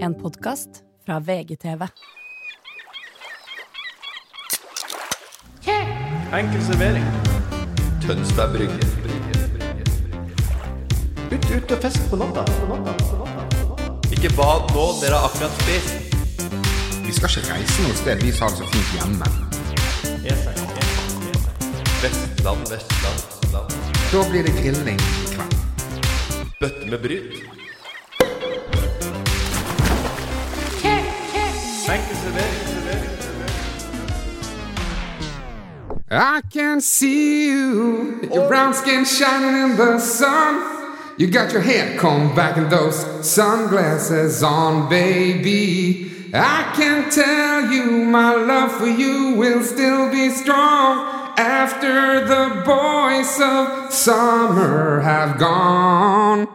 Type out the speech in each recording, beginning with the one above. En podkast fra VGTV. Enkel servering. Tønsberg Brygge. Ut, ut og fest på natta. Ikke bad nå, dere har akkurat spist. Vi skal ikke reise noe sted, vi som har det så fint hjemme. Vestland, Vestland, Vestland. Da blir det grilling i kveld. Bøtte med bryt. Enkel servering. I can see you, your brown skin shining in the sun. You got your hair combed back and those sunglasses on, baby. I can tell you my love for you will still be strong after the boys of summer have gone.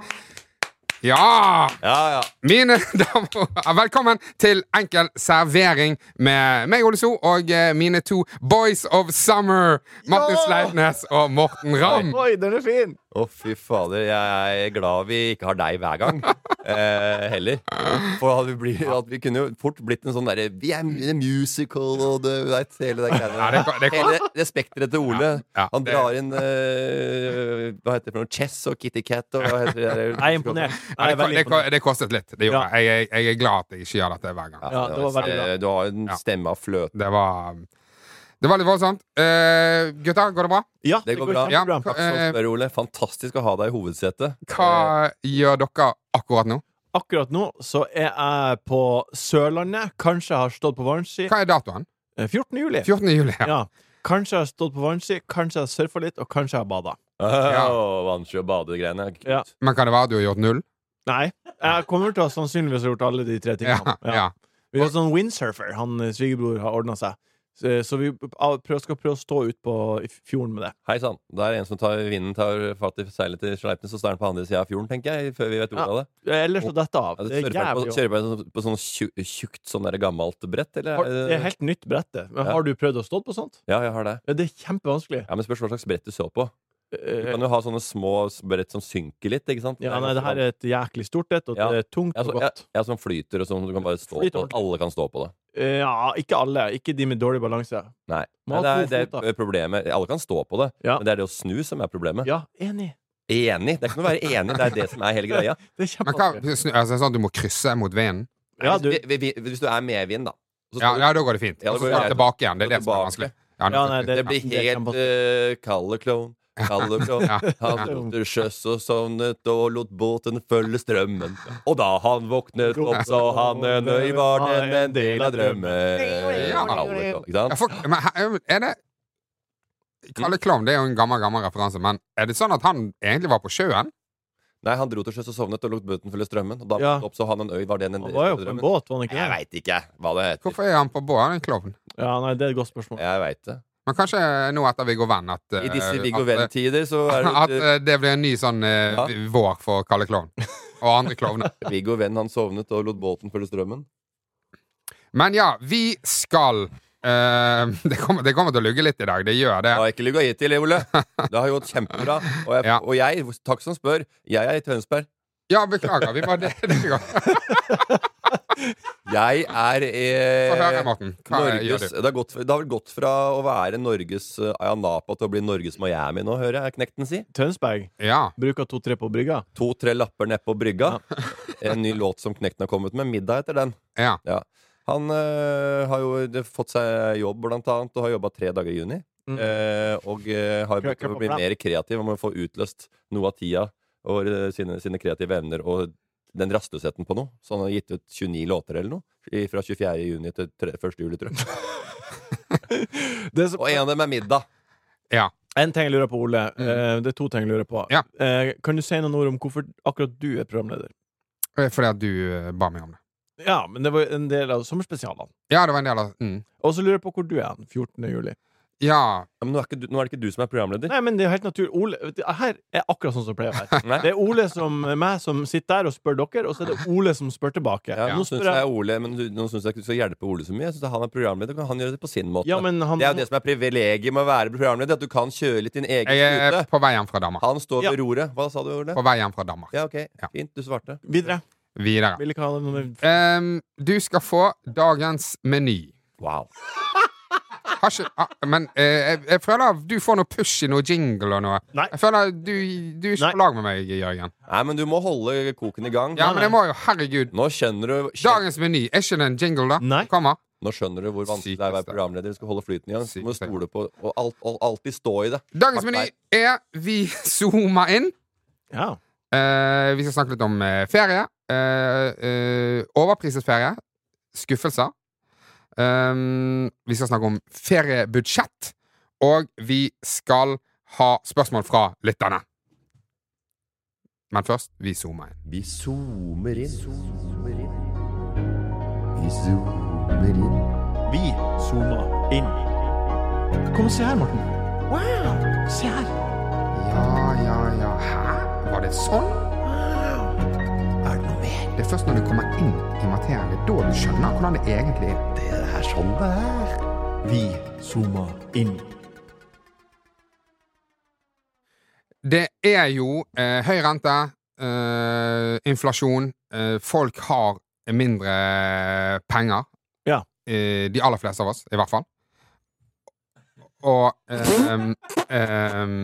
Ja! Ja, ja. Mine damer og herrer, velkommen til Enkel servering med meg, Ole So, og eh, mine to Boys of Summer, Martin Ja! Sleipnes og Morten Ramm. Oi, den er fin! Å, fy fader. Jeg er glad vi ikke har deg hver gang. Eh, heller. For at vi, blir, at vi kunne jo fort blitt en sånn derre Vi er en musical og du veit hele den Ja, det kan- det kan- greia. Hele det spekteret til Ole. Ja, ja, Han det- drar inn eh, Hva heter det for noe? Chess og Kitty Cat og hva heter det? Jeg er imponert. Ja, Jeg er det, ko- veldig det, ko- imponert. det kostet litt. Det gjorde Ja. jeg. Jeg, jeg er glad at jeg ikke gjør dette hver gang. Ja, det var veldig bra. eh, Du har en Ja. stemme av fløte. Det var um, Det var litt voldsomt. Eh, gutter, går det bra? Ja, Det går bra. Ja, kjempebra. hva, Takk som eh, spør, Ole. Fantastisk å ha deg i hovedsetet. hva gjør dere akkurat Eh, nå? Akkurat nå så er jeg på Sørlandet. Kanskje jeg har stått på Varnski. Hva er datoen? Eh, 14. juli. 14. juli. Ja. Ja. Kanskje jeg har stått på Varnski, kanskje jeg har surfa litt, og kanskje jeg har bada. Ja. Ja. Vannsky og badegreiene. Ja. Men kan det være at du har gjort null? Nei, jeg kommer til å sannsynligvis ha gjort alle de tre tingene. Ja, ja. Vi har sånn windsurfer. Han eh, svigerbror har ordna seg. Så, så vi av- prøv- skal prøve å stå ut på i fjorden med det. Hei sann. Det er en som tar vinden tar fatt i seilet til Sleipnes, og så er den på andre sida av fjorden, tenker jeg. Før vi vet ordet av det. Eh, Ellers så dette av. Det Altså, er surfer på, jævlig surfer på, sånn- på sånn tju- tjukt, sånn der gammelt brett, eller? Har- er Det det- er helt nytt brett, det. Men Ja. har du prøvd å stå på sånt? Ja, jeg har det. Ja, det er kjempevanskelig. Ja, Men spørs hva slags brett du så på. Du Eh, kan jo ha sånne små brett som synker litt, ikke sant? Ja, nei, det her er et jæklig stort et, og Ja. Altså, det er tungt ja, og så, ja, godt. ja, som flyter, og sånn. Du kan bare stå Flyter på det. Alle kan stå på det. Eh, Ja, ikke alle. Ikke de med dårlig balanse. Nei. Må ha Nei, to det, er, fot, det er problemet. Alle kan stå på det, Ja. men det er det å snu som er problemet. Ja, enig. Enig! Det er ikke noe å være enig, det er det som er hele greia. Det er Men hva, kjempevanskelig. snu- altså, sånn at du må krysse mot vinden? Ja, du, hvis, altså, vi- vi- hvis du er med i vind, da. Så Ja, står du- ja, da går det fint. Ja, Og da så går skal det- du tilbake igjen. Det er går det som er tilbake. vanskelig. Ja, nei, det- Det blir det kan helt passe. uh, kalde klovn. Kalde klovn. Han lot til sjøs og sovnet og lot båten følge strømmen. Og da han våknet opp, så han en øy var den en del av drømmen. Ja. Kalde klovn, Ikke Ja, sant? folk, men he- er det Kalle Klovn det er jo en gammel gammel referanse, men er det sånn at han egentlig var på sjøen? Nei, han dro til sjøs og sovnet og lot båten følge strømmen. Og da Ja. våknet opp, så han en øy var den en han del var jo av på en drømmen. båt, var han ikke Jeg det? veit ikke hva det heter. Hvorfor er han på båt? Han er en klovn. Ja, nei, det er et godt spørsmål. Jeg vet det. Men kanskje nå etter Viggo Venn at I disse eh, Viggo at, eh, Venn-tider så er At det eh, det blir en ny sånn eh, Ja. v- vår for Kalle Klovn. Og andre klovner. Viggo Venn han sovnet og lot båten følge strømmen. Men ja, vi skal eh, det, kommer, det kommer til å lugge litt i dag. Det gjør det. Jeg har ikke ligget gitt til, Ole. Det har gått kjempebra. Og jeg, Ja. og jeg, takk som spør, jeg er i Tønsberg. Ja, beklager. Vi bare det, det går. Jeg er eh, Få høre, Morten. Hva gjør Norges, du? det, har gått, det har vel gått fra å være Norges eh, Ayanapa til å bli Norges Miami nå, hører jeg knekten si. Tønsberg Ja. bruker to-tre på brygga. To-tre lapper nedpå brygga. En ny låt som knekten har kommet med. Middag heter den. ja. Ja. Han eh, har jo det- fått seg jobb, blant annet, og har jobba tre dager i juni. Mm. Eh, og eh, har Krøkker begynt å på bli plan. mer kreativ om å få utløst noe av tida og eh, sine, sine kreative evner og den rastløsheten på noe. Så han har gitt ut 29 låter eller noe. i- Fra 24. juni til tre- 1. juli, tror jeg. Eh, Det som, Og en av dem er middag. ja. en ting jeg lurer på, Ole. eh, Det er to ting jeg lurer på. Ja. Eh, Kan du si noen ord om hvorfor akkurat du er programleder? Eh, Fordi at du eh, ba meg om det. Ja, men det var en del av sommerspesialene. Ja, det var en del av mm. Og så lurer jeg på hvor du er hen 14. juli. Ja. Ja, men nå er, ikke du, nå er det ikke du som er programleder. Nei, men det er helt naturlig. Ole, det her er akkurat sånn som det pleier å være. Nei. Det er Ole som eh, meg som sitter der og spør dere, og så er det Ole som spør tilbake. Ja, Nå nå syns spør jeg jeg Ole Men du- nå synes jeg ikke du skal hjelpe Ole så mye. Jeg synes at Han er programleder, kan han gjøre det på sin måte. Ja, men han Det er jo det som er privilegiet med å være programleder, at du kan kjøre litt din egen Jeg er skute. på vei hjem fra Danmark. Han står ved roret. Hva sa du, Ole? På vei hjem fra Danmark. Ja, ok. Ja. Fint, du svarte. Videre. videre. Vil ikke ha noe med Ehm, du skal få dagens meny. Wow. Har ikke, ah, men eh, jeg, jeg føler du får noe push i noe jingle og noe. Nei. Jeg føler du, du er ikke Nei. på lag med meg, Jørgen. Nei, men du må holde koken i gang. Ja, men jeg må jo, herregud. Nå skjønner du kjen- Dagens meny, er ikke det en jingle, da? Nei. Kommer. Nå skjønner du hvor vanskelig det er å være Sykeste. programleder. Du skal holde flyten i gang. Så må du Sykeste. stole på og, alt, og alltid stå i det. Dagens Takk, meny nei. er vi zoomer inn. Ja. Eh, vi skal snakke litt om eh, ferie. Eh, eh, overpriset ferie. Skuffelser. Ehm, vi skal snakke om feriebudsjett. Og vi skal ha spørsmål fra lytterne. Men først, vi zoomer inn. Vi zoomer inn. Vi zoomer inn. Vi zoomer inn. Kom og se her, Morten. Wow! Se her. Ja, ja, ja. Hæ? Var det sånn? Er det noe mer? Det er først når du kommer inn i materien, det er da du skjønner hvordan det egentlig er. Det er sånn det er. Vi zoomer inn. Det er jo eh, høy rente, eh, inflasjon, eh, folk har mindre penger. Ja. Eh, de aller fleste av oss, i hvert fall. Og eh, em, em,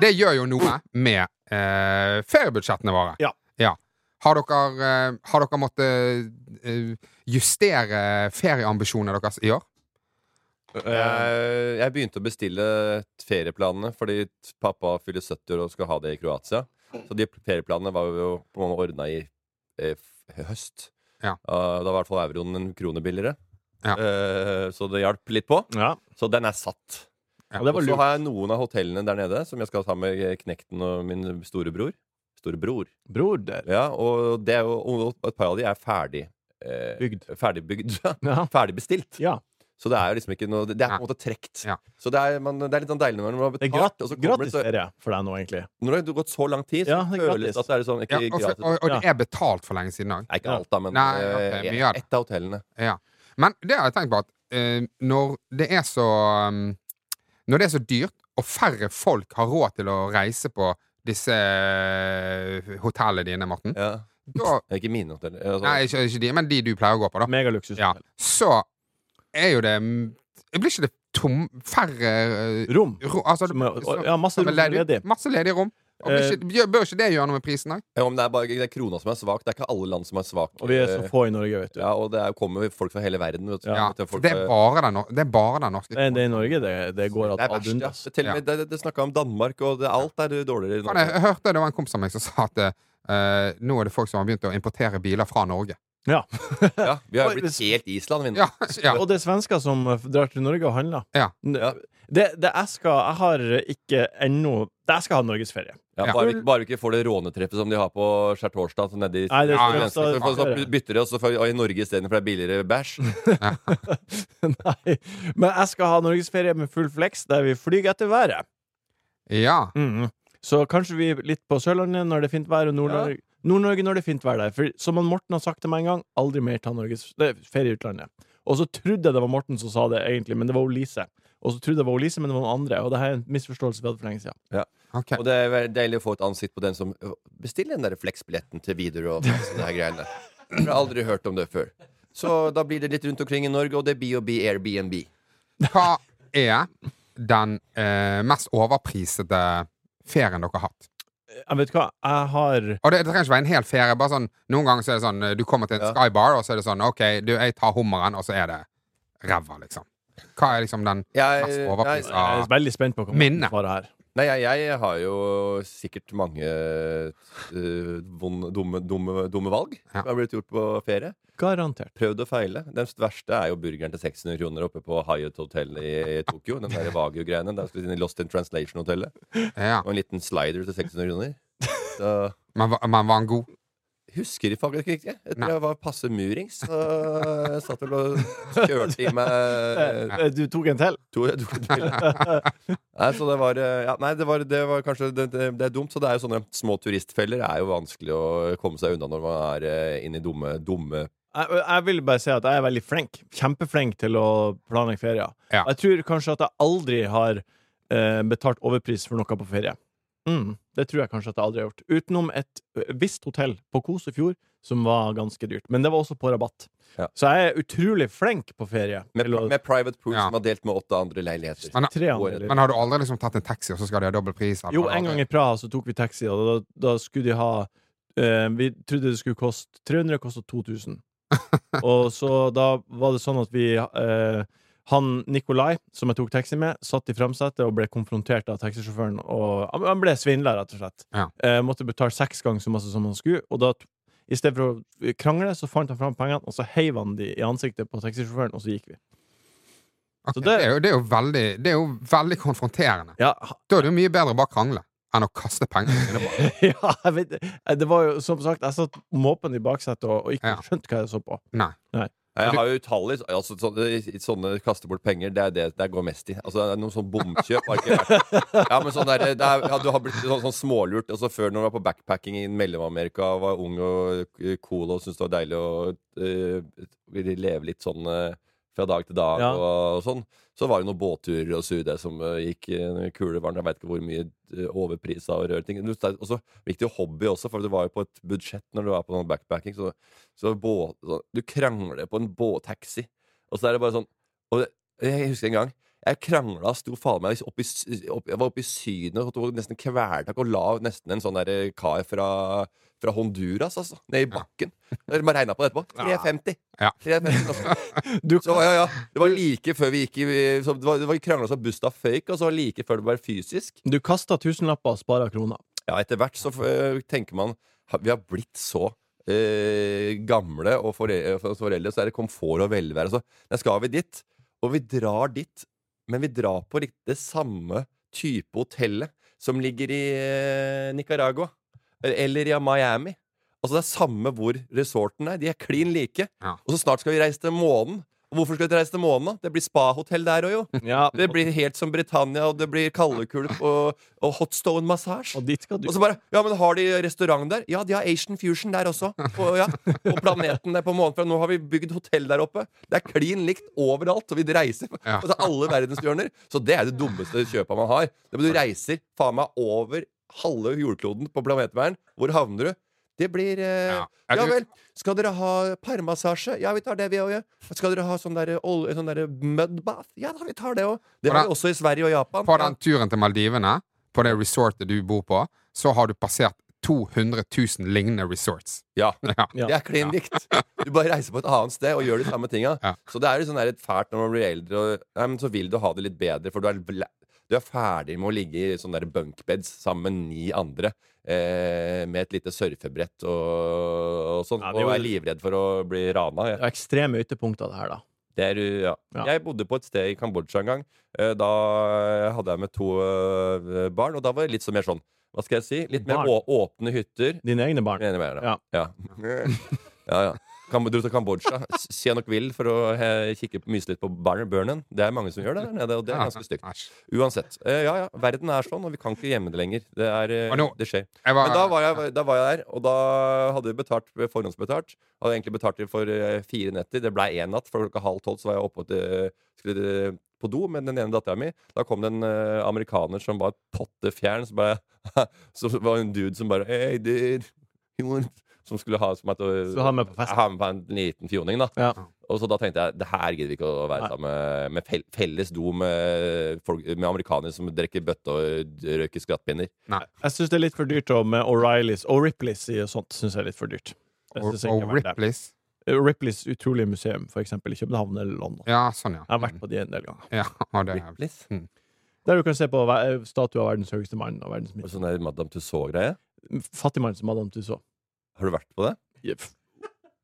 det gjør jo noe med eh, feriebudsjettene våre. Ja. Har dere, eh, har dere måttet eh, justere ferieambisjonene deres i år? Eh, Jeg begynte å bestille ferieplanene fordi t- pappa fyller 70 år og skal ha det i Kroatia. Så de ferieplanene var jo på en måte ordna i eh, f- høst. Ja. Eh, da var i hvert fall euroen en krone billigere. Ja. Eh, så det hjalp litt på. Ja. Så den er satt. Og det var Og så lurt. har jeg noen av hotellene der nede som jeg skal ta med knekten og min storebror. Storebror. Bror der. Ja, og, det er jo, og et par av de er ferdig eh, Bygd. ferdigbygd. Ja. Ferdigbestilt. Ja. Så det er jo liksom ikke noe Det er på en måte trekt. Ja. Så det er, man, det er litt sånn deilig når man har Det er betalt, gratis, og så kommer det gratis så, ferie for deg nå, egentlig. Når det har gått så lang tid, så Ja, det er føles gratis. det at det er sånn Ja, ikke og, gratis. og, og det er betalt for lenge siden òg. Nei, ikke alt, da, men Nei, eh, ok, mye av det. ett av hotellene. Ja. Men det har jeg tenkt på at eh, når det er så um, Når det er så dyrt, og færre folk har råd til å reise på disse eh, hotellene dine, Morten Ja. da, Ikke mine hotell. Altså, Nei, ikke, ikke de, men de du pleier å gå på, da. Megaluksus. Ja. Så er jo det mm, Blir ikke det tom færre eh, Rom. ro, altså, Som er- som- ja, masse som er rom som er ledig. Masse ledige rom. Og blir Eh, ikke, gjør- bør ikke det gjøre noe med prisen òg? Ja, men Eh, det er bare det er krona som er svak. Det er ikke alle land som er svake. Og vi er så få i Norge, vet du. Ja, og det er, kommer jo folk fra hele verden. Vet du. Ja. Ja, Vet du, folk, det, er bare den, nor- det er bare den norske. eh, Det er det i Norge det, det går det ad er verst, ja. adundas. Det, til og med, det, det snakket om Danmark, og det, alt er dårligere. i Faen, Norge. jeg hørte det var en kompis av meg som sa at eh, nå er det folk som har begynt å importere biler fra Norge. Ja. Ja, vi har jo Bare- blitt helt Island, Mm. vi nå. Ja, ja. Og det er svensker som eh, drar til Norge og handler. Ja. N- Ja. Det, det jeg skal Jeg har ikke ennå Jeg skal ha norgesferie. Ja, Ja. bare, vi, bare vi ikke får det rånetreffet som de har på skjærtorsdag. sånn nedi- Nei, det Ja, skal ja, jeg Så, også- så, så bytter de oss og får- og i Norge istedenfor det er billigere bæsj. Nei. Men jeg skal ha norgesferie med full flex, der vi flyr etter været. ja. Mm. Mhm. Så kanskje vi er litt på Sørlandet når det er fint vær, og Nord-Norge Nord-Norge når det er fint vær der. For som han Morten har sagt til meg en gang, aldri mer ta Norges nei, ferie i utlandet. Og så trodde jeg det var Morten som sa det, egentlig, men det var Lise. Og så trodde jeg det var Lise, men det var noen andre. Og det her er en misforståelse vi hadde for lenge siden. Ok. Og det er veldig deilig å få et ansikt på den som øh, bestiller den der Flex-billetten til Widerøe og sånne her greiene. Jeg har aldri hørt om det før. Så da blir det litt rundt omkring i Norge, og det er BOB Airbnb. Hva er den eh, mest overprisede ferien dere har hatt? Jeg Eh, vet hva, jeg har Og det, det trenger ikke være en hel ferie. bare sånn, Noen ganger så er det sånn eh, du kommer til en Ja. skybar, og så er det sånn OK, du, jeg tar hummeren, og så er det ræva, liksom. Hva er liksom den Jeg, mest nei, overprisa Jeg er veldig spent på hva Morten Minne. svarer her. nei, jeg, jeg har jo sikkert mange øh, vond- dumme, dumme, dumme valg Ja. som har blitt gjort på ferie. Garantert. Prøvd og feile. Den verste er jo burgeren til 600 kroner oppe på Hyatt Hotel i Tokyo. Den der Wagyu-greiene. Der skulle vi inn i Lost in Translation-hotellet. ja. Og en liten slider til 600 kroner. Så men, va- men var den god? husker jeg faktisk ikke. Jeg Nei. tror jeg var passe murings. Så jeg satt vel og kjørte i meg Eh, Du tok en til? to, to til. Nei, så det var eh, ja, Nei, det var, det var kanskje det, det, det er dumt. Så det er jo sånne små turistfeller. Det er jo vanskelig å komme seg unna når man er eh, inne i dumme, dumme Jeg, jeg vil bare si at jeg er veldig flink. Kjempeflink til å planlegge ferier. Ja. Jeg tror kanskje at jeg aldri har eh, betalt overpris for noe på ferie. Mm, det tror jeg kanskje at jeg aldri har gjort. Utenom et ø, visst hotell på Kos i fjor, som var ganske dyrt. Men det var også på rabatt. Ja. Så jeg er utrolig flink på ferie. Med, til å- med private pool Ja. som har delt med åtte andre leiligheter. Men, Tre andeler. men har du aldri liksom tatt en taxi, og så skal de ha dobbel pris? eller Jo, har du en gang aldri- i Praha så tok vi taxi, og da, da skulle de ha eh, Vi trodde det skulle koste 300, kosta 2000. og så da var det sånn at vi eh, Han Nikolai, som jeg tok taxi med, satt i framsetet og ble konfrontert av taxisjåføren. Og han- han ble svindla, rett og slett. Ja. Eh, måtte betale seks ganger så masse som han skulle. Og da, t- i stedet for å krangle, så fant han fram pengene, og så heiv han de i ansiktet på taxisjåføren, og så gikk vi. Ok, Så det- det, er jo, det, er jo veldig, det er jo veldig konfronterende. Ja, ha- Da er det jo mye bedre å bare krangle enn å kaste pengene dine på. ja, jeg vet eh, det. Det var jo, som sagt, jeg satt måpen i baksetet og, og ikke Ja. skjønte hva jeg så på. Nei. Jeg har jo utallige altså, sånne, sånne kaste bort penger. Det er det det jeg går mest i. Altså, det er Noen sånn bomkjøp har ikke vært Ja, men sånn der, det er, ja, Du har blitt sånn, sånn smålurt. Altså, før når du var på backpacking i Mellom-Amerika og var ung og eh, cool og syntes det var deilig å eh, ville leve litt sånn eh, fra dag til dag Ja. og, og sånn, så var det noen båtturer og sude som eh, gikk eh, kule varmt. Jeg veit ikke hvor mye eh, overprisa og røde ting. Du- det er også viktig hobby også, for du var jo på et budsjett når du var på noen backpacking. Så så båt, så- du krangler på en båttaxi. Og så er det bare sånn og det, Jeg husker en gang. Jeg krangla, sto faen meg opp i, sy- opp, Jeg var oppe i Syden og tok nesten kvelertak og la nesten en sånn der kar fra, fra Honduras, altså, ned i bakken. Jeg bare regna på det etterpå. 350. Ja. 350 norske. Du, Så ja, ja. Det var like før vi gikk i så Det var, det var krangla så busta føyk, og så var det like før det var fysisk. du kasta tusenlapper og spara kroner. Ja, etter hvert så øh, tenker man ha- Vi har blitt så øh, gamle og foreldre, foreldre, så er det komfort og velvære. Så nei, skal vi dit, og vi drar dit, men vi drar på rikt- det samme type hotellet som ligger i øh, Nicaragua eller i Miami. Altså Det er samme hvor resorten er. De er klin like. Ja. Og så snart skal vi reise til månen. Og hvorfor skal vi reise til månen? da? Det blir spahotell der òg, jo. Ja, Det blir helt som Britannia, og det blir kaldekulp og, og hotstone-massasje. og dit skal du. Og så bare Ja, men har de restaurant der? Ja, de har Asian Fusion der også. Og, ja, og planeten der på månen. For nå har vi bygd hotell der oppe. Det er klin likt overalt. Og vi reiser Ja. altså, alle verdenshjørner. Så det er det dummeste kjøpet man har. Det men Du reiser faen meg over halve jordkloden på planetverden. Hvor havner du? Det blir eh, Ja. ja. vel. Skal dere ha parmassasje? Ja, vi tar det, vi òg. Skal dere ha sånn derre ol- sånn derre mudbath? Ja da, vi tar det òg. Det har vi også i Sverige og Japan. På Ja. den turen til Maldivene, på det resortet du bor på, så har du passert 200 000 lignende resorts. Ja. Ja. Det er klin likt. Du bare reiser på et annet sted og gjør de samme tinga. Ja. Så det er jo sånn der litt fælt når man blir eldre, og nei, men så vil du ha det litt bedre, for du er, bla- du er ferdig med å ligge i sånne der bunkbeds sammen med ni andre. Eh, med et lite surfebrett og, og sånn. Ja, det er jo- og er livredd for å bli rana. Ja. Det er ekstreme ytterpunkter, det her, da. Det er, jo- ja. Ja. Jeg bodde på et sted i Kambodsja en gang. Eh, Da hadde jeg med to eh, barn, og da var det litt så mer sånn Hva skal jeg si? Litt mer Barn. å, åpne hytter. Dine egne barn. Enig med deg, Ja. da. Ja. ja, ja. Kam dro til Kambodsja. Se nok vil for å eh, kikke myse litt på bar- burnen. Det er mange som gjør det der nede, og det er ganske stygt. Æsj. Uansett. Eh, ja, ja. Verden er sånn, og vi kan ikke gjemme det lenger. Det, er, eh, Og nå- det skjer. Jeg var, Men da var, jeg, da var jeg der, og da hadde vi betalt forhåndsbetalt. Hadde egentlig betalt det for eh, fire netter. Det blei én natt, for klokka halv tolv så var jeg oppe til, skulle eh, på do med den ene dattera mi. Da kom det en eh, amerikaner som var pottefjern. Så, bare, så var det en dude som bare Hey, dude. you want-" Som skulle ha som at, Så ha med på fest. ha med på en liten fjoning, da. Ja. Og så da tenkte jeg det her gidder vi ikke å være Nei. sammen med, med fel- felles do med, folk, med amerikanere som drikker bøtte og røyker skrattpinner. Jeg syns det er litt for dyrt og med O'Reillys og Ripleys i og sånt. Synes jeg er litt for dyrt. Jeg og, synes ikke jeg og har vært der. Ripleys. Eh, Ripleys utrolige museum, for eksempel i København eller London. Ja, sånn, ja. Jeg har vært på de en del ganger. ja og det, Ripley's. Der du kan se på ver- eh, statue av verdens høyeste mann og verdens Og minste. sånn der Madame Tussauds-greie. Fattigmann som Madame Tussauds. Har du vært på det? Jepp.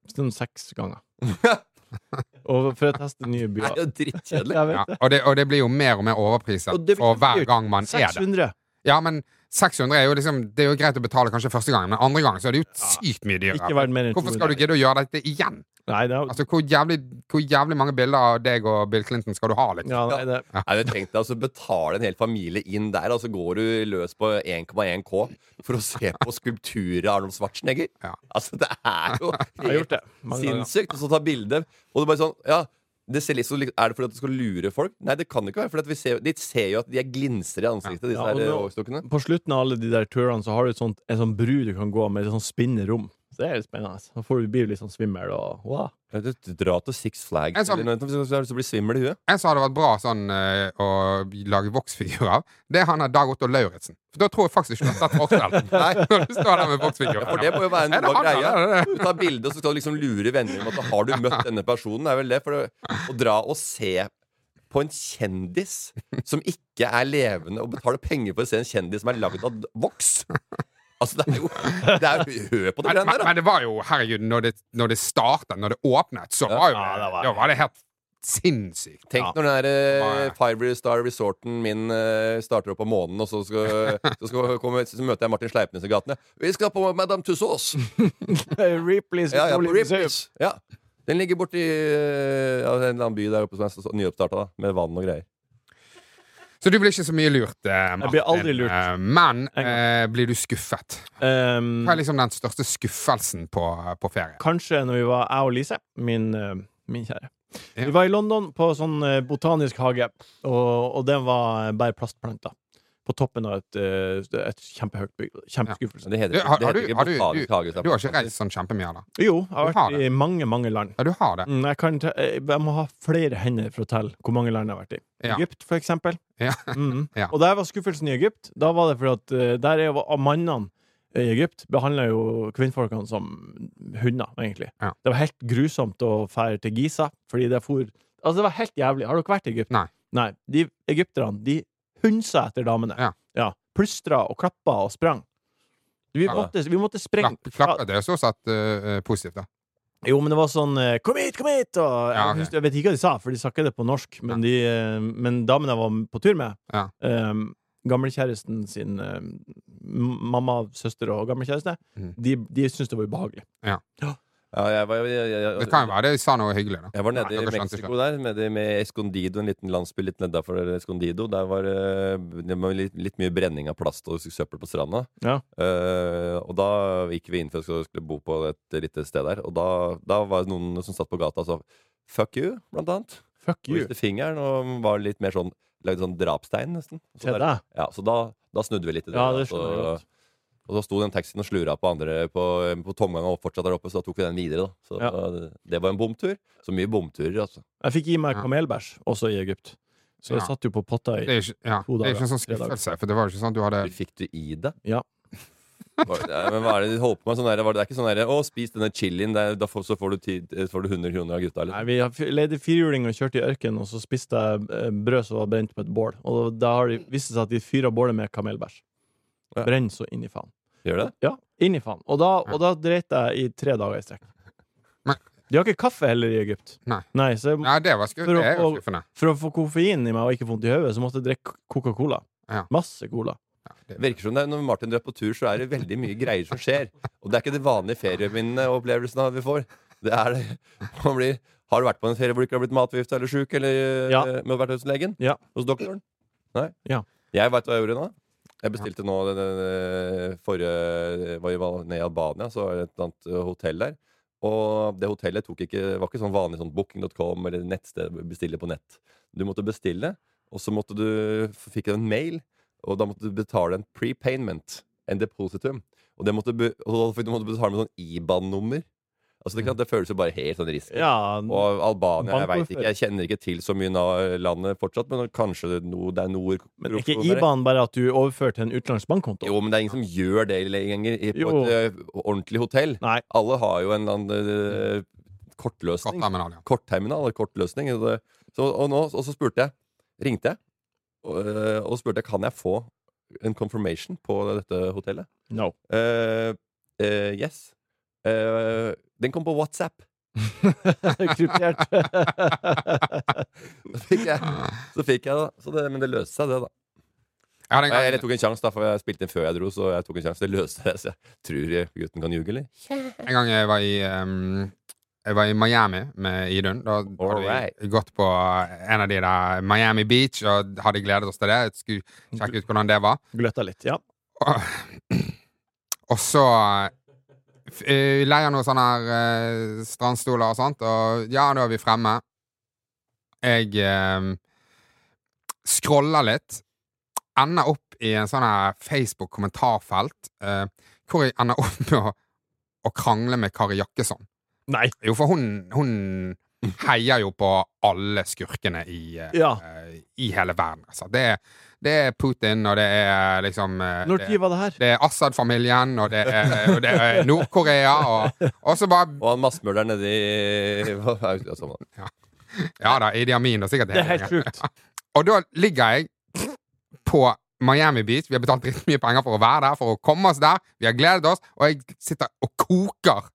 Sånn seks ganger. Og for å teste nye Det er byer. jo drittkjedelig. Jeg ja. vet det. Og, det, og det blir jo mer og mer overpriser Og det blir for hver dyrt. gang man er der. 600. Ja, men 600 er jo liksom Det er jo greit å betale kanskje første gangen, men andre gangen så er det jo sykt mye Ikke dyrere. verdt mer enn Hvorfor skal 200. du gidde å gjøre dette igjen? Nei, det er, Altså, hvor jævlig, hvor jævlig mange bilder av deg og Bill Clinton skal du ha? Liksom? ja, nei, det er Nei, men Tenk deg å altså, betale en hel familie inn der, og så går du løs på 1,1 K for å se på skulpturer av Arnold Schwarzenegger. Ja. Altså, det er jo Jeg har gjort det. Mange ganger. sinnssykt. Og så ta bilde, og du bare sånn Ja, det ser litt så, likt- er det fordi at du skal lure folk? Nei, det kan det ikke være. For at vi ser, de ser jo at de er glinser i ansiktet, disse Ja, og her nå- overstokkene. På slutten av alle de der turene Så har du et sånt, en sånn bru du kan gå med Et sånt spinnende rom Så det er litt spennende Da får du bli litt sånn svimmel og, wow. Ja, Du du drar til Six Flags En sånn- eller noe, så så blir du svimmel i huet. En som hadde vært bra sånn eh, å lage voksfigurer av, det er han der Dag Otto Lauritzen. For da tror jeg faktisk ikke du har sett forskjell. Nei, når du står der med voksfigurer. For det må jo være en Er det bra han, greie. eller er det Du tar bilde, og så skal du liksom lure venner om at har du møtt denne personen. Det er vel det. For å, å dra og se på en kjendis som ikke er levende, og betale penger for å se en kjendis som er lagd av voks Altså, det er jo det er, jo- Hør på det Men, greiene men, der, da! men det var jo, herregud, når det, når det startet, når det åpnet, så var jo Ja, det var- Da var det helt sinnssykt. Tenk når den der Ja, eh, ja. Five Star Resorten min eh, starter opp om måneden, og så, skal, så, skal jeg komme, så møter jeg Martin Sleipnes i gatene. 'Vi skal på Madame Tussauds!' Ripley's Ja, ja, på utrolig museum. Ripley's. Ja. Den ligger borti eh, ja, en eller annen by der oppe som er så- så nyoppstarta, da, med vann og greier. Så du blir ikke så mye lurt, eh, Martin. blir aldri lurt. Eh, men En gang. eh, blir du skuffet? Ehm, Hva er liksom den største skuffelsen på, på ferie? Kanskje når vi var, jeg og Lise, min, eh, min kjære Ja. Vi var i London på sånn eh, botanisk hage, og, og den var eh, bare plastplanter. På toppen av et, eh, et kjempehøyt bygg. Kjempeskuffelse. Det heter, Du, har, det har heter du, ikke har du, botanisk hage, du, så det er du har ikke botanisk. reist sånn kjempemye, da? Jo, jeg har Du har vært i mange, mange land. Ja, du har det. Mm, Jeg, kan, ta- eh, jeg må ha flere hender for å telle hvor mange land jeg har vært i. Ja. Egypt, for eksempel. Ja. Mm. Ja. Og der var skuffelsen i Egypt. Da var det fordi at eh, der er jo av mannene i Egypt behandla jo kvinnfolkene som hunder, egentlig. Ja. Det var helt grusomt å fære til Giza, fordi det for Altså, det var helt jævlig. Har dere vært i Egypt? Nei. Nei. De egypterne, de hunsa etter damene. Ja. Plystra og klappa og sprang. Vi Ja. måtte, vi måtte springe. Klapp, klappet det er så sett eh, positivt, da. Jo, men det var sånn eh, 'kom hit, kom hit!' Og jeg, Ja, ok. husker- jeg vet ikke hva de sa, for de sa ikke det på norsk. Men, de, eh, men damen jeg var på tur med, Ja. eh, gamlekjæresten sin eh, m- mamma, søster og gamlekjæreste, Mhm. de, de syntes det var ubehagelig. Ja, jeg, var, jeg, jeg, jeg, Det kan jo være de sa noe hyggelig, da. jeg var nede Nei, dere i skjønte Mexico der, nede med Escondido, en liten landsby litt nedafor Escondido. Der var eh, det var litt, litt mye brenning av plast og søppel på stranda. Ja. Eh, og da gikk vi inn for å skulle bo på et lite sted der. Og da, da var det noen som satt på gata og sa 'fuck you', blant annet. Fuck Og you. viste fingeren og var litt mer sånn Lagde sånn drapstegn, nesten. Så, Til der, deg. ja, så da, da snudde vi litt i det. Ja, altså. da, det skjønner jeg så- godt. og så sto den taxien og slura på andre på, på tomgangen og fortsatt der oppe, så da tok vi den videre. da Så Ja. det var en bomtur. Så mye bomturer, altså. Jeg fikk i meg Ja. kamelbæsj, også i Egypt. Så jeg Ja. satt jo på potta i Det er ikke, ja, To det er ikke en dager, sånn tre dager. skuffelse, for det var jo ikke sånn at du hadde Fikk du i deg? Ja. Var, det- men hva er det de holder på med? Sånn der, var det, det er ikke sånn der, 'Å, spis denne chilien, det er- da får, så får du, tid, eh, får du 100 kroner av gutta'. Nei, Liksom. vi har f- leide firhjuling og kjørte i ørkenen, og så spiste jeg eh, brød som var brent på et bål. Og da har det vist seg at de fyrer bålet med kamelbæsj. Ja. Brenn så inn i faen. Gjør det? Ja, inn i faen. Og da, og da dreit jeg i tre dager i strekk. Men- De har ikke kaffe heller i Egypt. Nei. så jeg, Nei, det var sku, For å det er jo få- skuffende. For å få koffein i meg og ikke vondt i hodet, så måtte jeg drikke Coca-Cola. Ja. Masse cola. Virker som det er, Når Martin drar på tur, så er det veldig mye greier som skjer. Og det er ikke de vanlige ferieminnene og opplevelsene vi får. Det er det. Man blir, har du vært på en ferie hvor du ikke har blitt matforgifta eller sjuk? Eller Ja. eh, med å vært hos legen? Ja. Hos doktoren? Nei? Ja. Jeg veit hva jeg gjorde nå. Jeg bestilte nå den, den forrige var jo nede i Albania, så var det et annet eh, hotell der. Og det hotellet tok ikke, var ikke sånn vanlig sånn booking.com eller nettsted bestille på nett. Du måtte bestille, og så måtte du, fikk du en mail, og da måtte du betale en prepayment, en depositum. Og, det måtte, be- og da fikk du måtte betale med sånn IBAN-nummer. Altså, det, Mm. er klart, det føles jo bare helt sånn risky. Ja, Og Albania, jeg vet ikke, Bankordfører. jeg kjenner ikke til så mye av landet fortsatt, men kanskje det er noe, det er noe men ikke IBAN, bare at du overfører til en utenlandsk bankkonto. Jo, men det er ingen som gjør det lenger i- på Jo. et eh, ordentlig hotell. Nei. Alle har jo en eller annen eh, kortløsning. Kortterminal, ja. Kortterminal eller kortløsning. og det- Så, og, nå, og så spurte jeg, ringte jeg, og, eh, og spurte jeg, kan jeg få en confirmation på dette hotellet? No. Eh, eh, yes. Eh, den kom på WhatsApp. Kryptert. Så fikk jeg, så fikk jeg da. Så det, men det løste seg, det, da. Jeg hadde en Jeg, jeg gang, tok en sjanse, da, for jeg spilte inn før jeg dro. Så jeg tok en sjanse, det løste det. Så jeg tror eh, gutten kan ljuge, eller? en gang jeg var i ehm, jeg var i Miami med Idun. Da hadde vi Alright. gått på en av de der Miami Beach og hadde gledet oss til det. Jeg Skulle sjekke ut hvordan det var. Gløtta litt, ja. Og, og så f- eh, leier noen sånne her eh, strandstoler og sånt, og ja, da er vi fremme. Jeg eh, scroller litt, ender opp i en sånn her Facebook-kommentarfelt, eh, hvor jeg ender opp med å, å krangle med Kari Jakkesson. Nei! Jo, for hun, hun heier jo på alle skurkene i, eh, Ja. eh, i hele verden. Altså. Det, er- det er Putin, og det er liksom eh, Når tid det, var det her? det er Assad-familien, og det er, og det er Nord-Korea, og, og så bare Og han massmørderen nedi hva er det som- Ja da, Idi Amin og sikkert Det er helt sjukt. Og da ligger jeg på Miami Beach. Vi har betalt dritmye penger for å være der, for å komme oss der. Vi har gledet oss, og jeg sitter og koker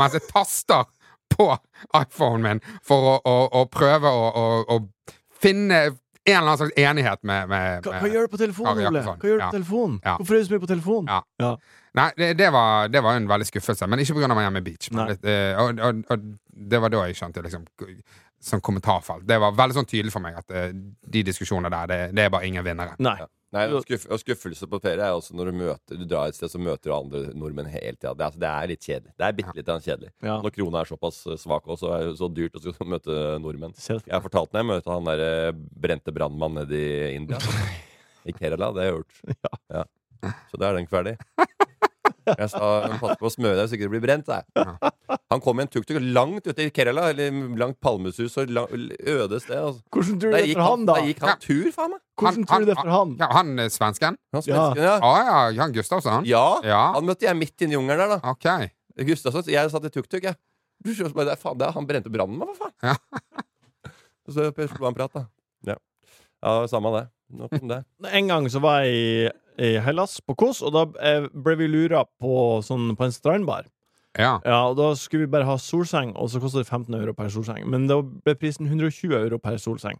mens jeg taster på iPhonen min for å, å, å prøve å, å, å finne en eller annen slags enighet med, med, Hva, med. hva gjør du på telefonen, Ole? Kari Jakkesson. Hva gjør du Ja. på telefonen? Ja. Hvorfor er du så mye på telefonen? Ja. Nei, det, det, var, det var en veldig skuffelse, men ikke pga. Miami Beach. Men Nei. litt, eh, og, og, og det var da jeg skjønte liksom, k- sånn kommentarfelt. Det var veldig sånn tydelig for meg at eh, de diskusjonene der, det, det er bare ingen vinnere. Nei. Nei, og skuff, og skuffelse på ferie er også når du møter Du drar et sted, så møter du andre nordmenn hele tida. Det, er- altså, det er litt kjedelig. Det er bitte litt kjedelig. Ja. Når krona er såpass eh, svak og så er det så dyrt å skulle møte nordmenn. Selv- Jeg fortalte når jeg møtte han der eh, brente brannmannen nede i India. I Kerala. Det har jeg gjort. Ja. Så da er den ferdig. Jeg sa pass på å smøre deg så ikke du blir brent. Jeg. Han kom i en tuk-tuk langt ute i Kerala, eller langt palmesus og lang, øde sted. Altså. Hvordan tror du Der, det er gikk for han, han, da? der gikk han tur, faen meg! Hvordan tror du det er for han? Ja, han eh, svensken? Ja. Han svensken, ja. Ja, ja, han Gustavsen. Ja, Ja. han møtte jeg midt inne i jungelen der, da. Ok. Gustavsen, jeg satt i tuk-tuk, jeg. Du skjønner, bare, det er faen, det er han brente brannen med, hva faen? Og så slo han prat, da. Ja, ja samme det. Nok om det. En gang så var jeg i, i Hellas på Kos, og da eh, ble vi lura på, sånn, på en strandbar. Ja. Ja, og Da skulle vi bare ha solseng, og så kosta det 15 euro per solseng. Men da ble prisen 120 euro per solseng.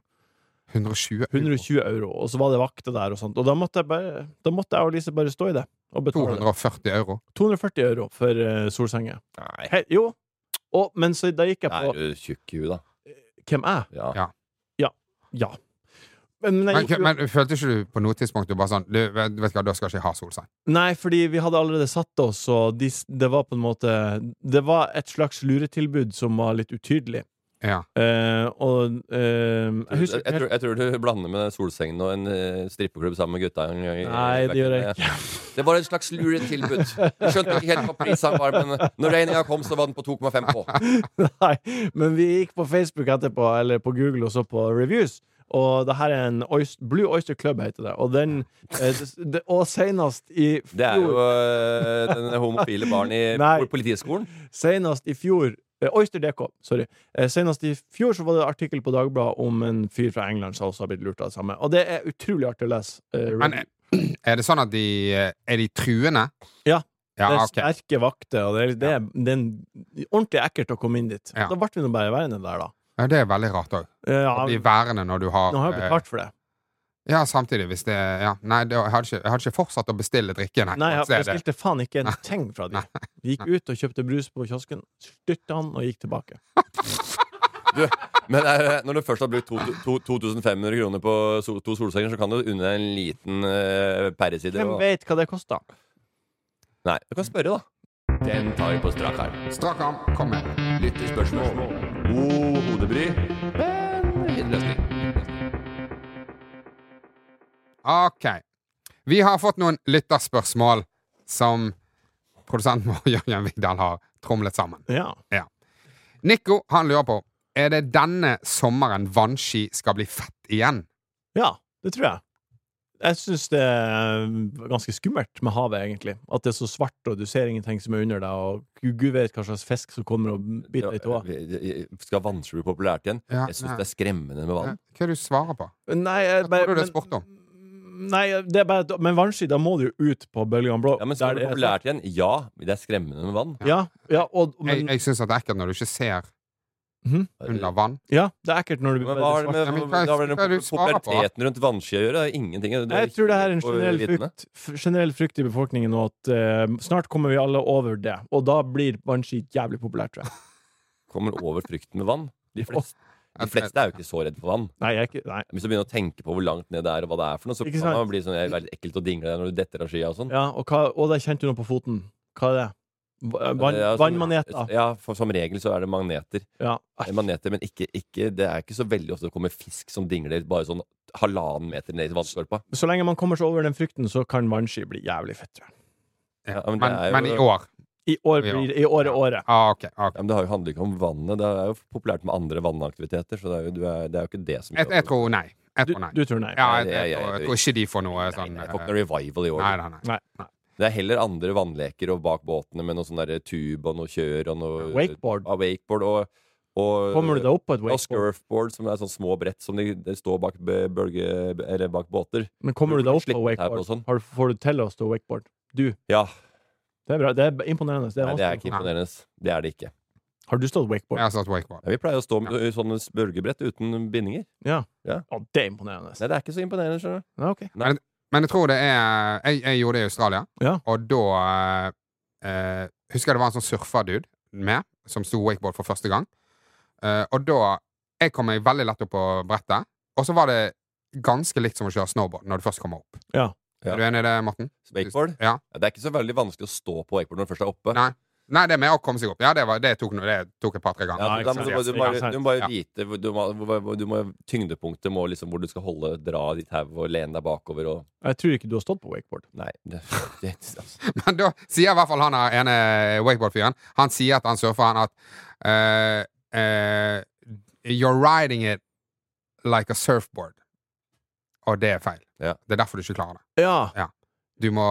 120 120 euro, Og så var det vakter der, og sånt Og da måtte jeg, bare, da måtte jeg og Lise bare stå i det og betale. 240 euro. 240 euro for eh, solsenger. Nei, He, jo. Og, men så da gikk jeg er på du tjukk i huet, da? Hvem er jeg? Ja. Ja. Ja. Men, men, jeg Men, gikk jo- men følte ikke du på noe tidspunkt du bare sånn du, vet, vet du hva, da skal ikke jeg ha solseng? Nei, fordi vi hadde allerede satt oss, og de, s- det var på en måte Det var et slags luretilbud som var litt utydelig. Ja. Eh, og eh, jeg Jeg, husker ikke tror, helt jeg tror du blander med den solsengen og en eh, strippeklubb sammen med gutta. en gang i- Nei, det gjør jeg ikke. Det var et slags luretilbud. Vi skjønte ikke helt hva prisen var, men eh, når regninga kom, så var den på 2,5 K. Nei, men vi gikk på Facebook etterpå, eller på Google, og så på reviews. Og det her er en Oyst, Blue Oyster Club, heter det. Og den eh, det, det- Og senest i Det er jo fjor, eh, den homofile baren i Nei. politiskolen. senest i fjor eh, Oyster DK, sorry. Eh, Senest i fjor så var det artikkel på Dagbladet om en fyr fra England som også har blitt lurt av det samme. Og det er utrolig artig å lese. eh, Men eh, er det sånn at de eh, Er de truende? Ja. Ja, det er ok. sterke vakter, og det er, det er, det er en- ordentlig ekkelt å komme inn dit. Ja. Da ble vi nå bare værende der, da. Ja, det er veldig rart òg. Ja, Bli værende når du har nå har jeg eh, betalt for det. Ja, samtidig, hvis det Ja, nei, det, jeg, hadde ikke, jeg hadde ikke fortsatt å bestille drikke, nei. Nei, jeg, Så er jeg det- spilte faen ikke en ting fra de. Vi gikk ut og kjøpte brus på kiosken, styrta han og gikk tilbake. Du, men eh, når du først har brukt to- to- 2500 kroner på sol, to solsenger, så kan du unne deg en liten uh, pæreside. Hvem og- vet hva det kosta? Nei, du kan spørre, da. Den tar vi på strak arm. Strak arm, kom med. Lyttespørsmål. God hodebry, men innløsning. Ok. Vi har fått noen lytterspørsmål som produsenten vår, Jørgen Vigdal, har tromlet sammen. Ja. Nico, han lurer på Er det denne sommeren vannski skal bli fett igjen? ja, det tror jeg. Jeg syns det er ganske skummelt med havet, egentlig. At det er så svart, og du ser ingenting som er under deg, og gud vet hva slags fisk som kommer og biter deg i tåa. Skal vanskelig bli populært igjen? Ja, Jeg syns nei. det er skremmende med Hva vann. er det du svarer på? Nei, jeg Hva bare tror du det men- er sport om? Nei, det er bare at- Men vannski, da må du jo ut på bølgene blå. Ja, men der Skal det bli er- sånn. populært igjen? Ja, men det er skremmende med vann. Ja, ja, og, Jeg, men, jeg syns det er ekkelt når du ikke ser Mhm. under vann. ja, det er ekkelt når du Men hva har det det er svart. med men hva- hva har det hva er det med du svarer på? populariteten rundt vannski å gjøre? Det er Ingenting. Det er Jeg tror det her er en ikke generell vitne. frykt, f- generell frykt i befolkningen, og at eh, snart kommer vi alle over det. Og da blir vannski jævlig populært, tror jeg. Kommer over frykten med vann. De fleste, de fleste er jo ikke så redd for vann. Nei, jeg er ikke Nei. Hvis du begynner å tenke på hvor langt ned det er, og hva det eh, er for noe, så Ikke kan sant? man bli sånn, det er veldig ekkelt å dingle når du detter av skia og sånn. Ja, og hva Og der kjente du noe på foten. Hva er det? Va- eh, Men Vann, det er sånn- vannmaneter. Ja, for som regel så er det magneter. Ja. Eh, Magneter, Men ikke, ikke, det er ikke så veldig ofte det kommer fisk som dingler bare sånn halvannen meter ned i vannskorpa. Så lenge man kommer seg over den frykten, så kan vannski bli jævlig fett. tror jeg. Ja, men det men, er jo- men i år. I år Ja. blir I år er året. Ah, ok, ok. Ja, men det har jo handler ikke om vannet. Det er jo populært med andre vannaktiviteter. Så det er jo, du er, det er jo ikke det som Jeg, jeg tror nei. Jeg Du, tror nei. du tror nei. Ja, jeg, det- jeg, jeg- tror, jeg- jeg tror ikke de får noe sånn Nei, eh, det får ikke noe revival i år. Nei, nei, nei. Nei. Det er heller andre vannleker og bak båtene med noe sånn derre tube og noe kjør og noe Wakeboard. Ja, wakeboard og, og Kommer du deg opp på et Og wakeboard? scurfboard, som er sånn små brett som de, de står bak, b- bølge, eller bak båter. Men kommer du deg opp på Slipp her på wakeboard? sånn. Har, du- får du til å stå wakeboard? Du. Ja. Det er bra. Det er imponerende. Det er Nei, det vanskelig. er ikke imponerende. Det er det ikke. Har du stått wakeboard? Jeg har satt wakeboard. Ja, vi pleier å stå med sånne bølgebrett uten bindinger. Å, det er imponerende. Nei, det er ikke så imponerende, skjønner du. Ja, ok. Men jeg tror det er eh, Jeg, jeg gjorde det i Australia, Ja. og da eh, eh, Husker jeg det var en sånn surferdude med, som sto wakeboard for første gang. Eh, og da Jeg kom meg veldig lett opp på brettet, og så var det ganske likt som å kjøre snowboard når du først kommer opp. Ja. Ja. Er du enig i det, Morten? Wakeboard? Ja. Ja, Det er ikke så veldig vanskelig å stå på wakeboard når du først er oppe. Nei, Nei, det med å komme seg opp. Ja, det, var, det, tok, no- det tok et par-tre ganger. Ja, Nei, da, ikke må sant. du, bare- du, Ikke bare, sant. du må bare Ja. vite hvor- du må, hvor- du må, Tyngdepunktet må liksom hvor du skal holde, dra ditt tau og lene deg bakover og Jeg tror ikke du har stått på wakeboard. Nei. Det, det, altså. Men da sier i hvert fall han her ene eh, wakeboardfyren Han sier at han surfer han at eh, eh, You're riding it like a surfboard. Og det er feil. Ja. Det er derfor du ikke klarer det. Ja. Du må,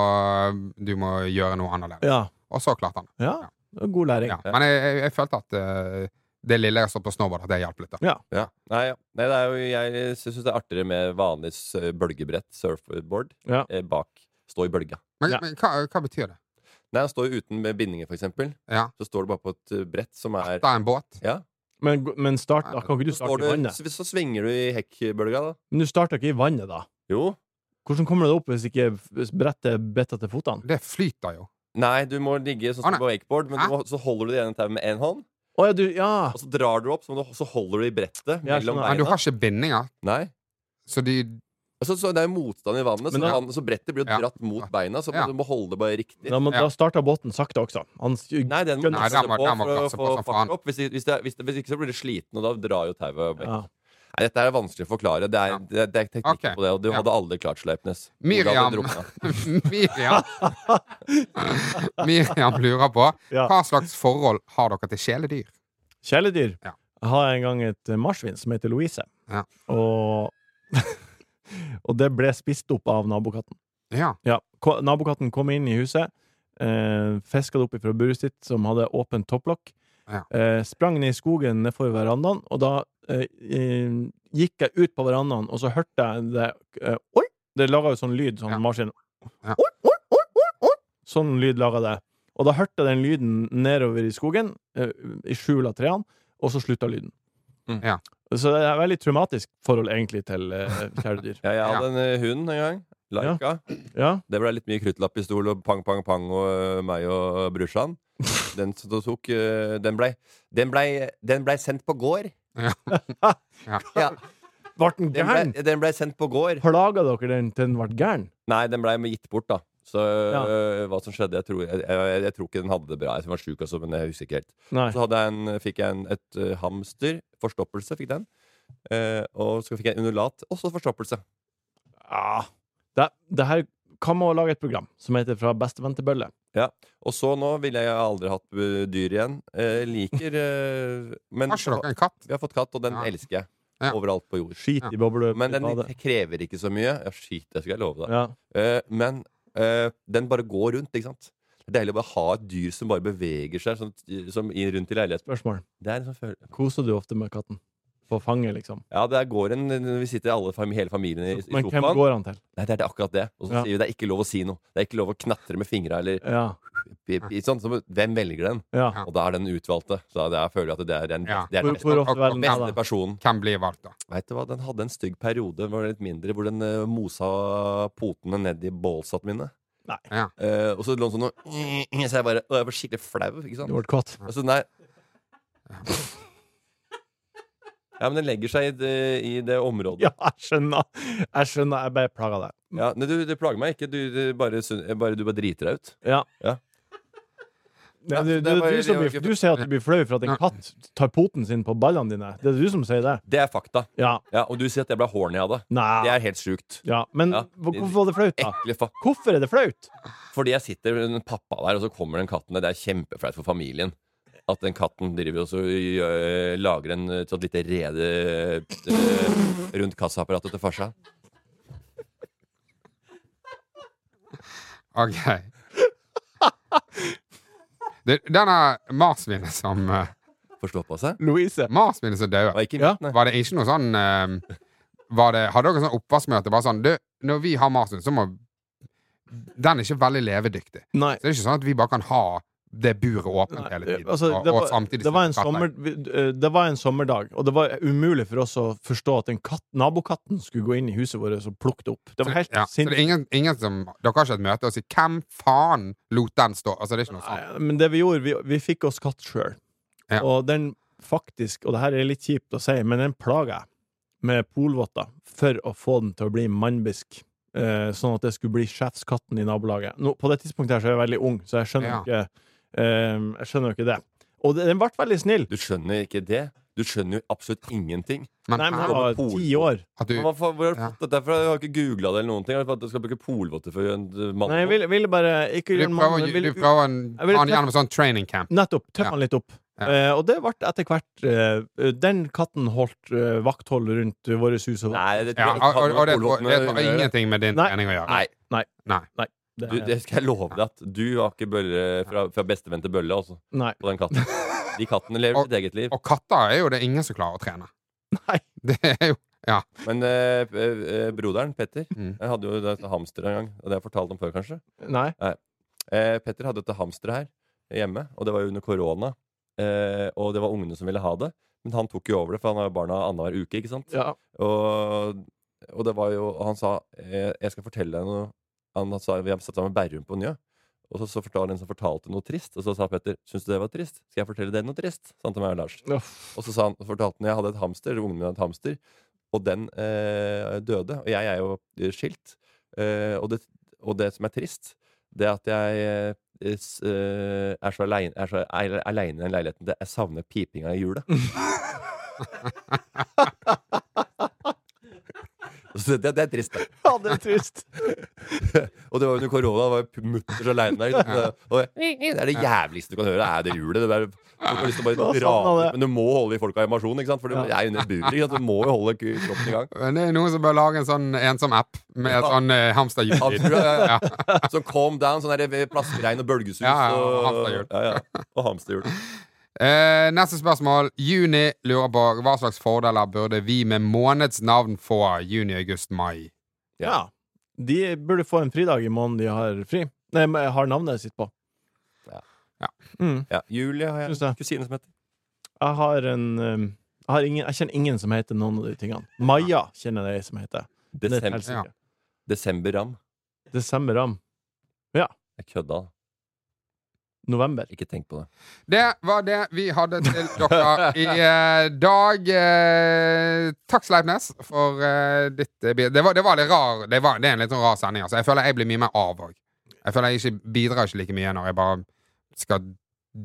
du må gjøre noe annerledes. Ja. Og så klarte han det. ja. Det er God læring. Ja. Men jeg, jeg, jeg følte at eh, det lille jeg har stått på snowboard, at det hjalp litt. Da. Ja. Nei, ja. Nei, det er jo, jeg syns det er artigere med vanlig s- bølgebrett, surfboard, Ja. eh, bak. Stå i bølga. Men, Ja. men hva, hva betyr det? Nei, han står jo uten med bindinger, for eksempel. Ja. Så står du bare på et eh, brett som er Ah, Det er en båt. Ja. Men, men start, da kan ikke du Så, står starte i du, vannet? så, så svinger du i hekkbølga, da. Men du starter ikke i vannet, da? Jo. Hvordan kommer du deg opp hvis ikke hvis brettet bitter til fotene? Det flyter jo. Nei, du må ligge sånn Å, som Ah, nei. på wakeboard, men Hæ? du må, så holder du det ene tauet med én hånd. Å ja, du Ja! Og så drar du opp, så, må du, så holder du i brettet Ja, mellom skjønner. Men du beina. har ikke bindinger, Nei. så de Altså, så det er jo motstand i vannet, så, Men da- han, så brettet blir jo Ja. dratt mot beina. Så Ja. du må holde det bare riktig. Da, må, Ja. da starter båten sakte også. Han s- Nei, den må Nei, passe den må- på den må for å passe på få som faen. fart opp. Hvis, det- hvis, det, hvis, det, hvis ikke så blir det sliten, og da drar jo tauet vekk. ja. Nei, Dette er vanskelig å forklare. Det er, Ja. det, det er teknikk Ok. på det, og du Ja. hadde aldri klart Sleipnes. Hodet hadde Miriam, drukna. Miriam Miriam lurer på Ja. hva slags forhold har dere til kjæledyr. Kjæledyr. Ja. Jeg har en gang et eh, marsvin som heter Louise. Ja. Og Og det ble spist opp av nabokatten. Ja. Ja, ko- Nabokatten kom inn i huset, eh, fiska det opp fra buret sitt, som hadde åpent topplokk. Ja. Eh, sprang ned i skogen nedfor verandaen, og da eh, eh, gikk jeg ut på verandaen, og så hørte jeg det eh, Oi! Det laga jo sånn lyd, sånn Ja. maskin. Ja. Oi, oi, oi, oi, oi. Sånn lyd laga det. Og da hørte jeg den lyden nedover i skogen, eh, i skjul av trærne, og så slutta lyden. Mm. Ja. Så det er et veldig traumatisk forhold, egentlig, til eh, kjæledyr. Ja, jeg Ja. hadde en eh, hund en gang. Laika. Ja. Det ble litt mye kruttlappistol og pang, pang, pang og øh, meg og brorsan. Den, som da tok, øh, den, blei, den, blei, den blei sendt på gård. Ja. Ja. Ja, Ble den den, blei, gæren? den blei sendt på gård. Plaga dere den til den ble gæren? Nei, den blei med gitt bort, da. Så Ja. øh, hva som skjedde Jeg tror, jeg, jeg, jeg tror ikke den hadde det bra. Jeg var sjuk også, men jeg husker ikke helt. Nei. Så hadde jeg en, fikk jeg en, et øh, hamster. Forstoppelse fikk den. Eh, og så fikk jeg en undulat. Også forstoppelse. Ah, det, det her kan man lage et program som heter Fra bestevenn til bølle. Og så nå ville jeg aldri hatt øh, dyr igjen. Eh, liker eh, Men Har ikke dere en katt? Vi har fått katt, og den Ja. elsker jeg. Ja. Overalt på jord. Skit Ja. i bobleløp. Men den ta det. krever ikke så mye. Ja, skit, det skal jeg love deg. ja. Eh, men eh, den bare går rundt, ikke sant? Det er deilig å bare ha et dyr som bare beveger seg sånn, som i, rundt i leiligheten. Spørsmål. Det er en sånn følelse. Koser du ofte med katten? På fanget, liksom? Ja, der går en Vi sitter alle, fam- hele familien i, i Men hvem sofaen. går han til? Nei, det er det akkurat det. Og så Ja. sier vi det er ikke lov å si noe. Det er ikke lov å knatre med fingra eller Ja. pip, pip, sånn. Så, hvem velger den? ja. Ja. Og da er den utvalgte. Så det er, jeg føler at det er den, Ja. det er Hvor, den hvor ofte Akkurat velger han beste deg? personen. Hvem blir valgt, da? Vet du hva, Den hadde en stygg periode hvor den var litt mindre, hvor den eh, mosa potene ned i ballsene mine. Nei. Ja. Eh, og så lå den sånn og Så jeg bare og jeg var skikkelig flau. ikke sant? Du ble kåt? Altså, nei. Ja, men den legger seg i det, i det området. Ja, jeg skjønner. Jeg skjønner. Jeg bare plaga deg. Ja, nei, du, det plager meg ikke. Du, du, bare, syn- jeg bare, du bare driter deg ut. Ja. Ja. Nei, Nei, det, det det, var- er du, som det var blir, ikke- du sier at du blir flau for at en Ja. katt tar poten sin på ballene dine. Det er du som sier det. Det er fakta. Ja. Ja, og du sier at jeg ble horny av det. Det Nei. er helt sjukt. Ja. Men Ja. hvorfor var det flaut, da? Ekle fa... Hvorfor er det flaut? Fordi jeg sitter med en pappa der, og så kommer den katten der. Det er kjempeflaut for familien. At den katten driver og så gjør- lager en eh, sånn lite rede eh, rundt kassaapparatet til farsan. OK. Det, denne marsvinet som eh, Får slå på seg. Louise. Marsvinet som døde Og ikke Ja. mitt, nei. Var det ikke noe sånn eh, var det, Hadde dere sånn oppvaskmøte? Bare sånn du, Når vi har marsvin, så må Den er ikke veldig levedyktig. Nei. Så det er ikke sånn at vi bare kan ha det buret åpent Nei, hele tiden. altså, og, det, og var, samtidig det, var en sitte og sommer, kattlegge. vi- eh, det var en sommerdag, og det var umulig for oss å forstå at en katt, nabokatten skulle gå inn i huset vårt og plukke det opp. Det var helt ja, Så det er sinnssykt. ingen, ingen som Dere har ikke et møte og sier 'Hvem faen lot den stå?' Altså, det er ikke noe sånt. Nei, Men det vi gjorde, vi, vi fikk oss katt sjøl. Ja. Og den faktisk, og det her er litt kjipt å si, men den plaga jeg med polvotter for å få den til å bli mannbisk. Eh, sånn at det skulle bli sjefskatten i nabolaget. Nå, på det tidspunktet her så er jeg veldig ung, så jeg skjønner Ja. ikke eh, Jeg skjønner jo ikke det. Og det, den ble veldig snill. Du skjønner ikke det. Du skjønner jo absolutt ingenting. Men Nei, men her- jeg var Pol- ti år. at du Hva faen, hvor har du Ja. fått dette fra? Jeg har ikke googla det eller noen ting. Jeg har fått at du skal bruke polvotter for en eh, mann. Nei, jeg ville, ville bare ikke Du gjøre en prøver, mann- å- ville- du prøver en, Jeg vil- han gjennom sånn training camp. Nettopp. Tøff Ja. han litt opp. Ja. Eh, og det ble etter hvert eh, Den katten holdt eh, vakthold rundt vårt hus. Og, Nei, det, Ja, det og, kan og, jo og det, polvottene det har gjøre. ingenting med din Nei. trening å gjøre. Nei. det, Du, det skal jeg love deg at du har ikke bølle fra, fra bestevenn til bølle, altså. nei. På den katten. De kattene lever sitt eget liv. Og katter er jo det ingen som klarer å trene. Nei. Det er jo Men eh, eh, broderen, Petter, Mm. jeg hadde jo et hamster en gang. Og det har jeg fortalt om før, kanskje. nei. Eh, Petter hadde dette hamsteret her hjemme, og det var jo under korona. Eh, og det var ungene som ville ha det. Men han tok jo over det, for han har jo barna annenhver uke. ikke sant? Ja. Og, og det var jo og Han sa eh, 'Jeg skal fortelle deg noe'. Han sa vi har satt sammen Berrum på Njø. Og så, så fortalte han som fortalte noe trist. Og så sa Petter 'Syns du det var trist? Skal jeg fortelle deg noe trist?' sa han til meg og Lars. Uff. Og så sa han, fortalte han jeg hadde et hamster, eller ungen min hadde et hamster, og den eh, døde. Og jeg er jo eh, skilt. Eh, og, det, og det som er trist, det er at jeg eh, s- eh, er så aleine i den leiligheten. Det, jeg savner pipinga i hjulet. Så det, det er trist, det. Ja, det er trist. Og det var under korona. Det var jo pu- mutters aleine der. ikke sant? Og jeg, det er det jævligste du kan høre, er det hjulet. Det der, folk har lyst Ja, til å bare sånn dra var det. Men du må holde i folka i emasjon, ikke sant? For du Ja. er under buret. ikke sant? Du må jo holde k- kroppen i gang. Men det er noen som bør lage en sånn ensom app med Ja. sånn uh, hamsterhjul. Hamster, ja, ja. Ja. Så calm down. Sånn der plaskregn og bølgesus. Ja, ja, og hamsterhjul. og, ja, ja. og hamsterhjul. Eh, neste spørsmål. Juni lurer på hva slags fordeler burde vi med månedsnavn få juni, august, mai? Ja. De burde få en fridag i måneden de har fri. Nei, men har navnet sitt på. Ja. Ja. Mm. Ja, Julie har jeg Syns det. en kusine som heter. Jeg har en eh, jeg, har ingen, jeg kjenner ingen som heter noen av de tingene. Maja kjenner jeg ei som heter. Det er et Desem helsike. Desemberram. Desember Ram. Jeg kødda. November. Ikke tenk på det. Det var det vi hadde til dere i eh, dag. Eh, takk, Sleipnes, for eh, ditt eh, bi- det, var, det var litt rar det, var, det er en litt sånn rar sending. Altså. Jeg føler jeg blir mye mer av òg. Jeg føler jeg ikke bidrar ikke like mye når jeg bare skal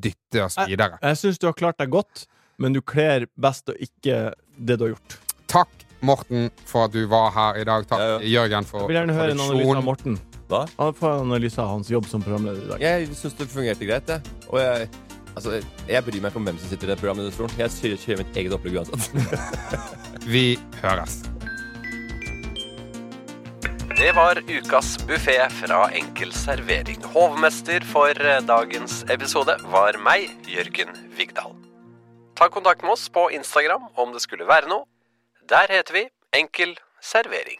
dytte Eh. oss videre. Jeg syns du har klart deg godt, men du kler best å ikke det du har gjort. Takk, Morten, for at du var her i dag. Takk, Ja, ja. Jørgen, for Jeg vil gjerne høre en analyse av produksjon. Morten. Hva? Han får en analyse av hans jobb som programleder i dag. Jeg syns det fungerte greit, jeg. Og jeg, altså, jeg bryr meg ikke om hvem som sitter i det programmet. i denne stolen. Jeg kjører- kjører mitt eget opplegg uansett. Vi høres. Det var ukas buffé fra Enkel servering. Hovmester for eh, dagens episode var meg, Jørgen Vigdal. Ta kontakt med oss på Instagram om det skulle være noe. Der heter vi Enkel servering.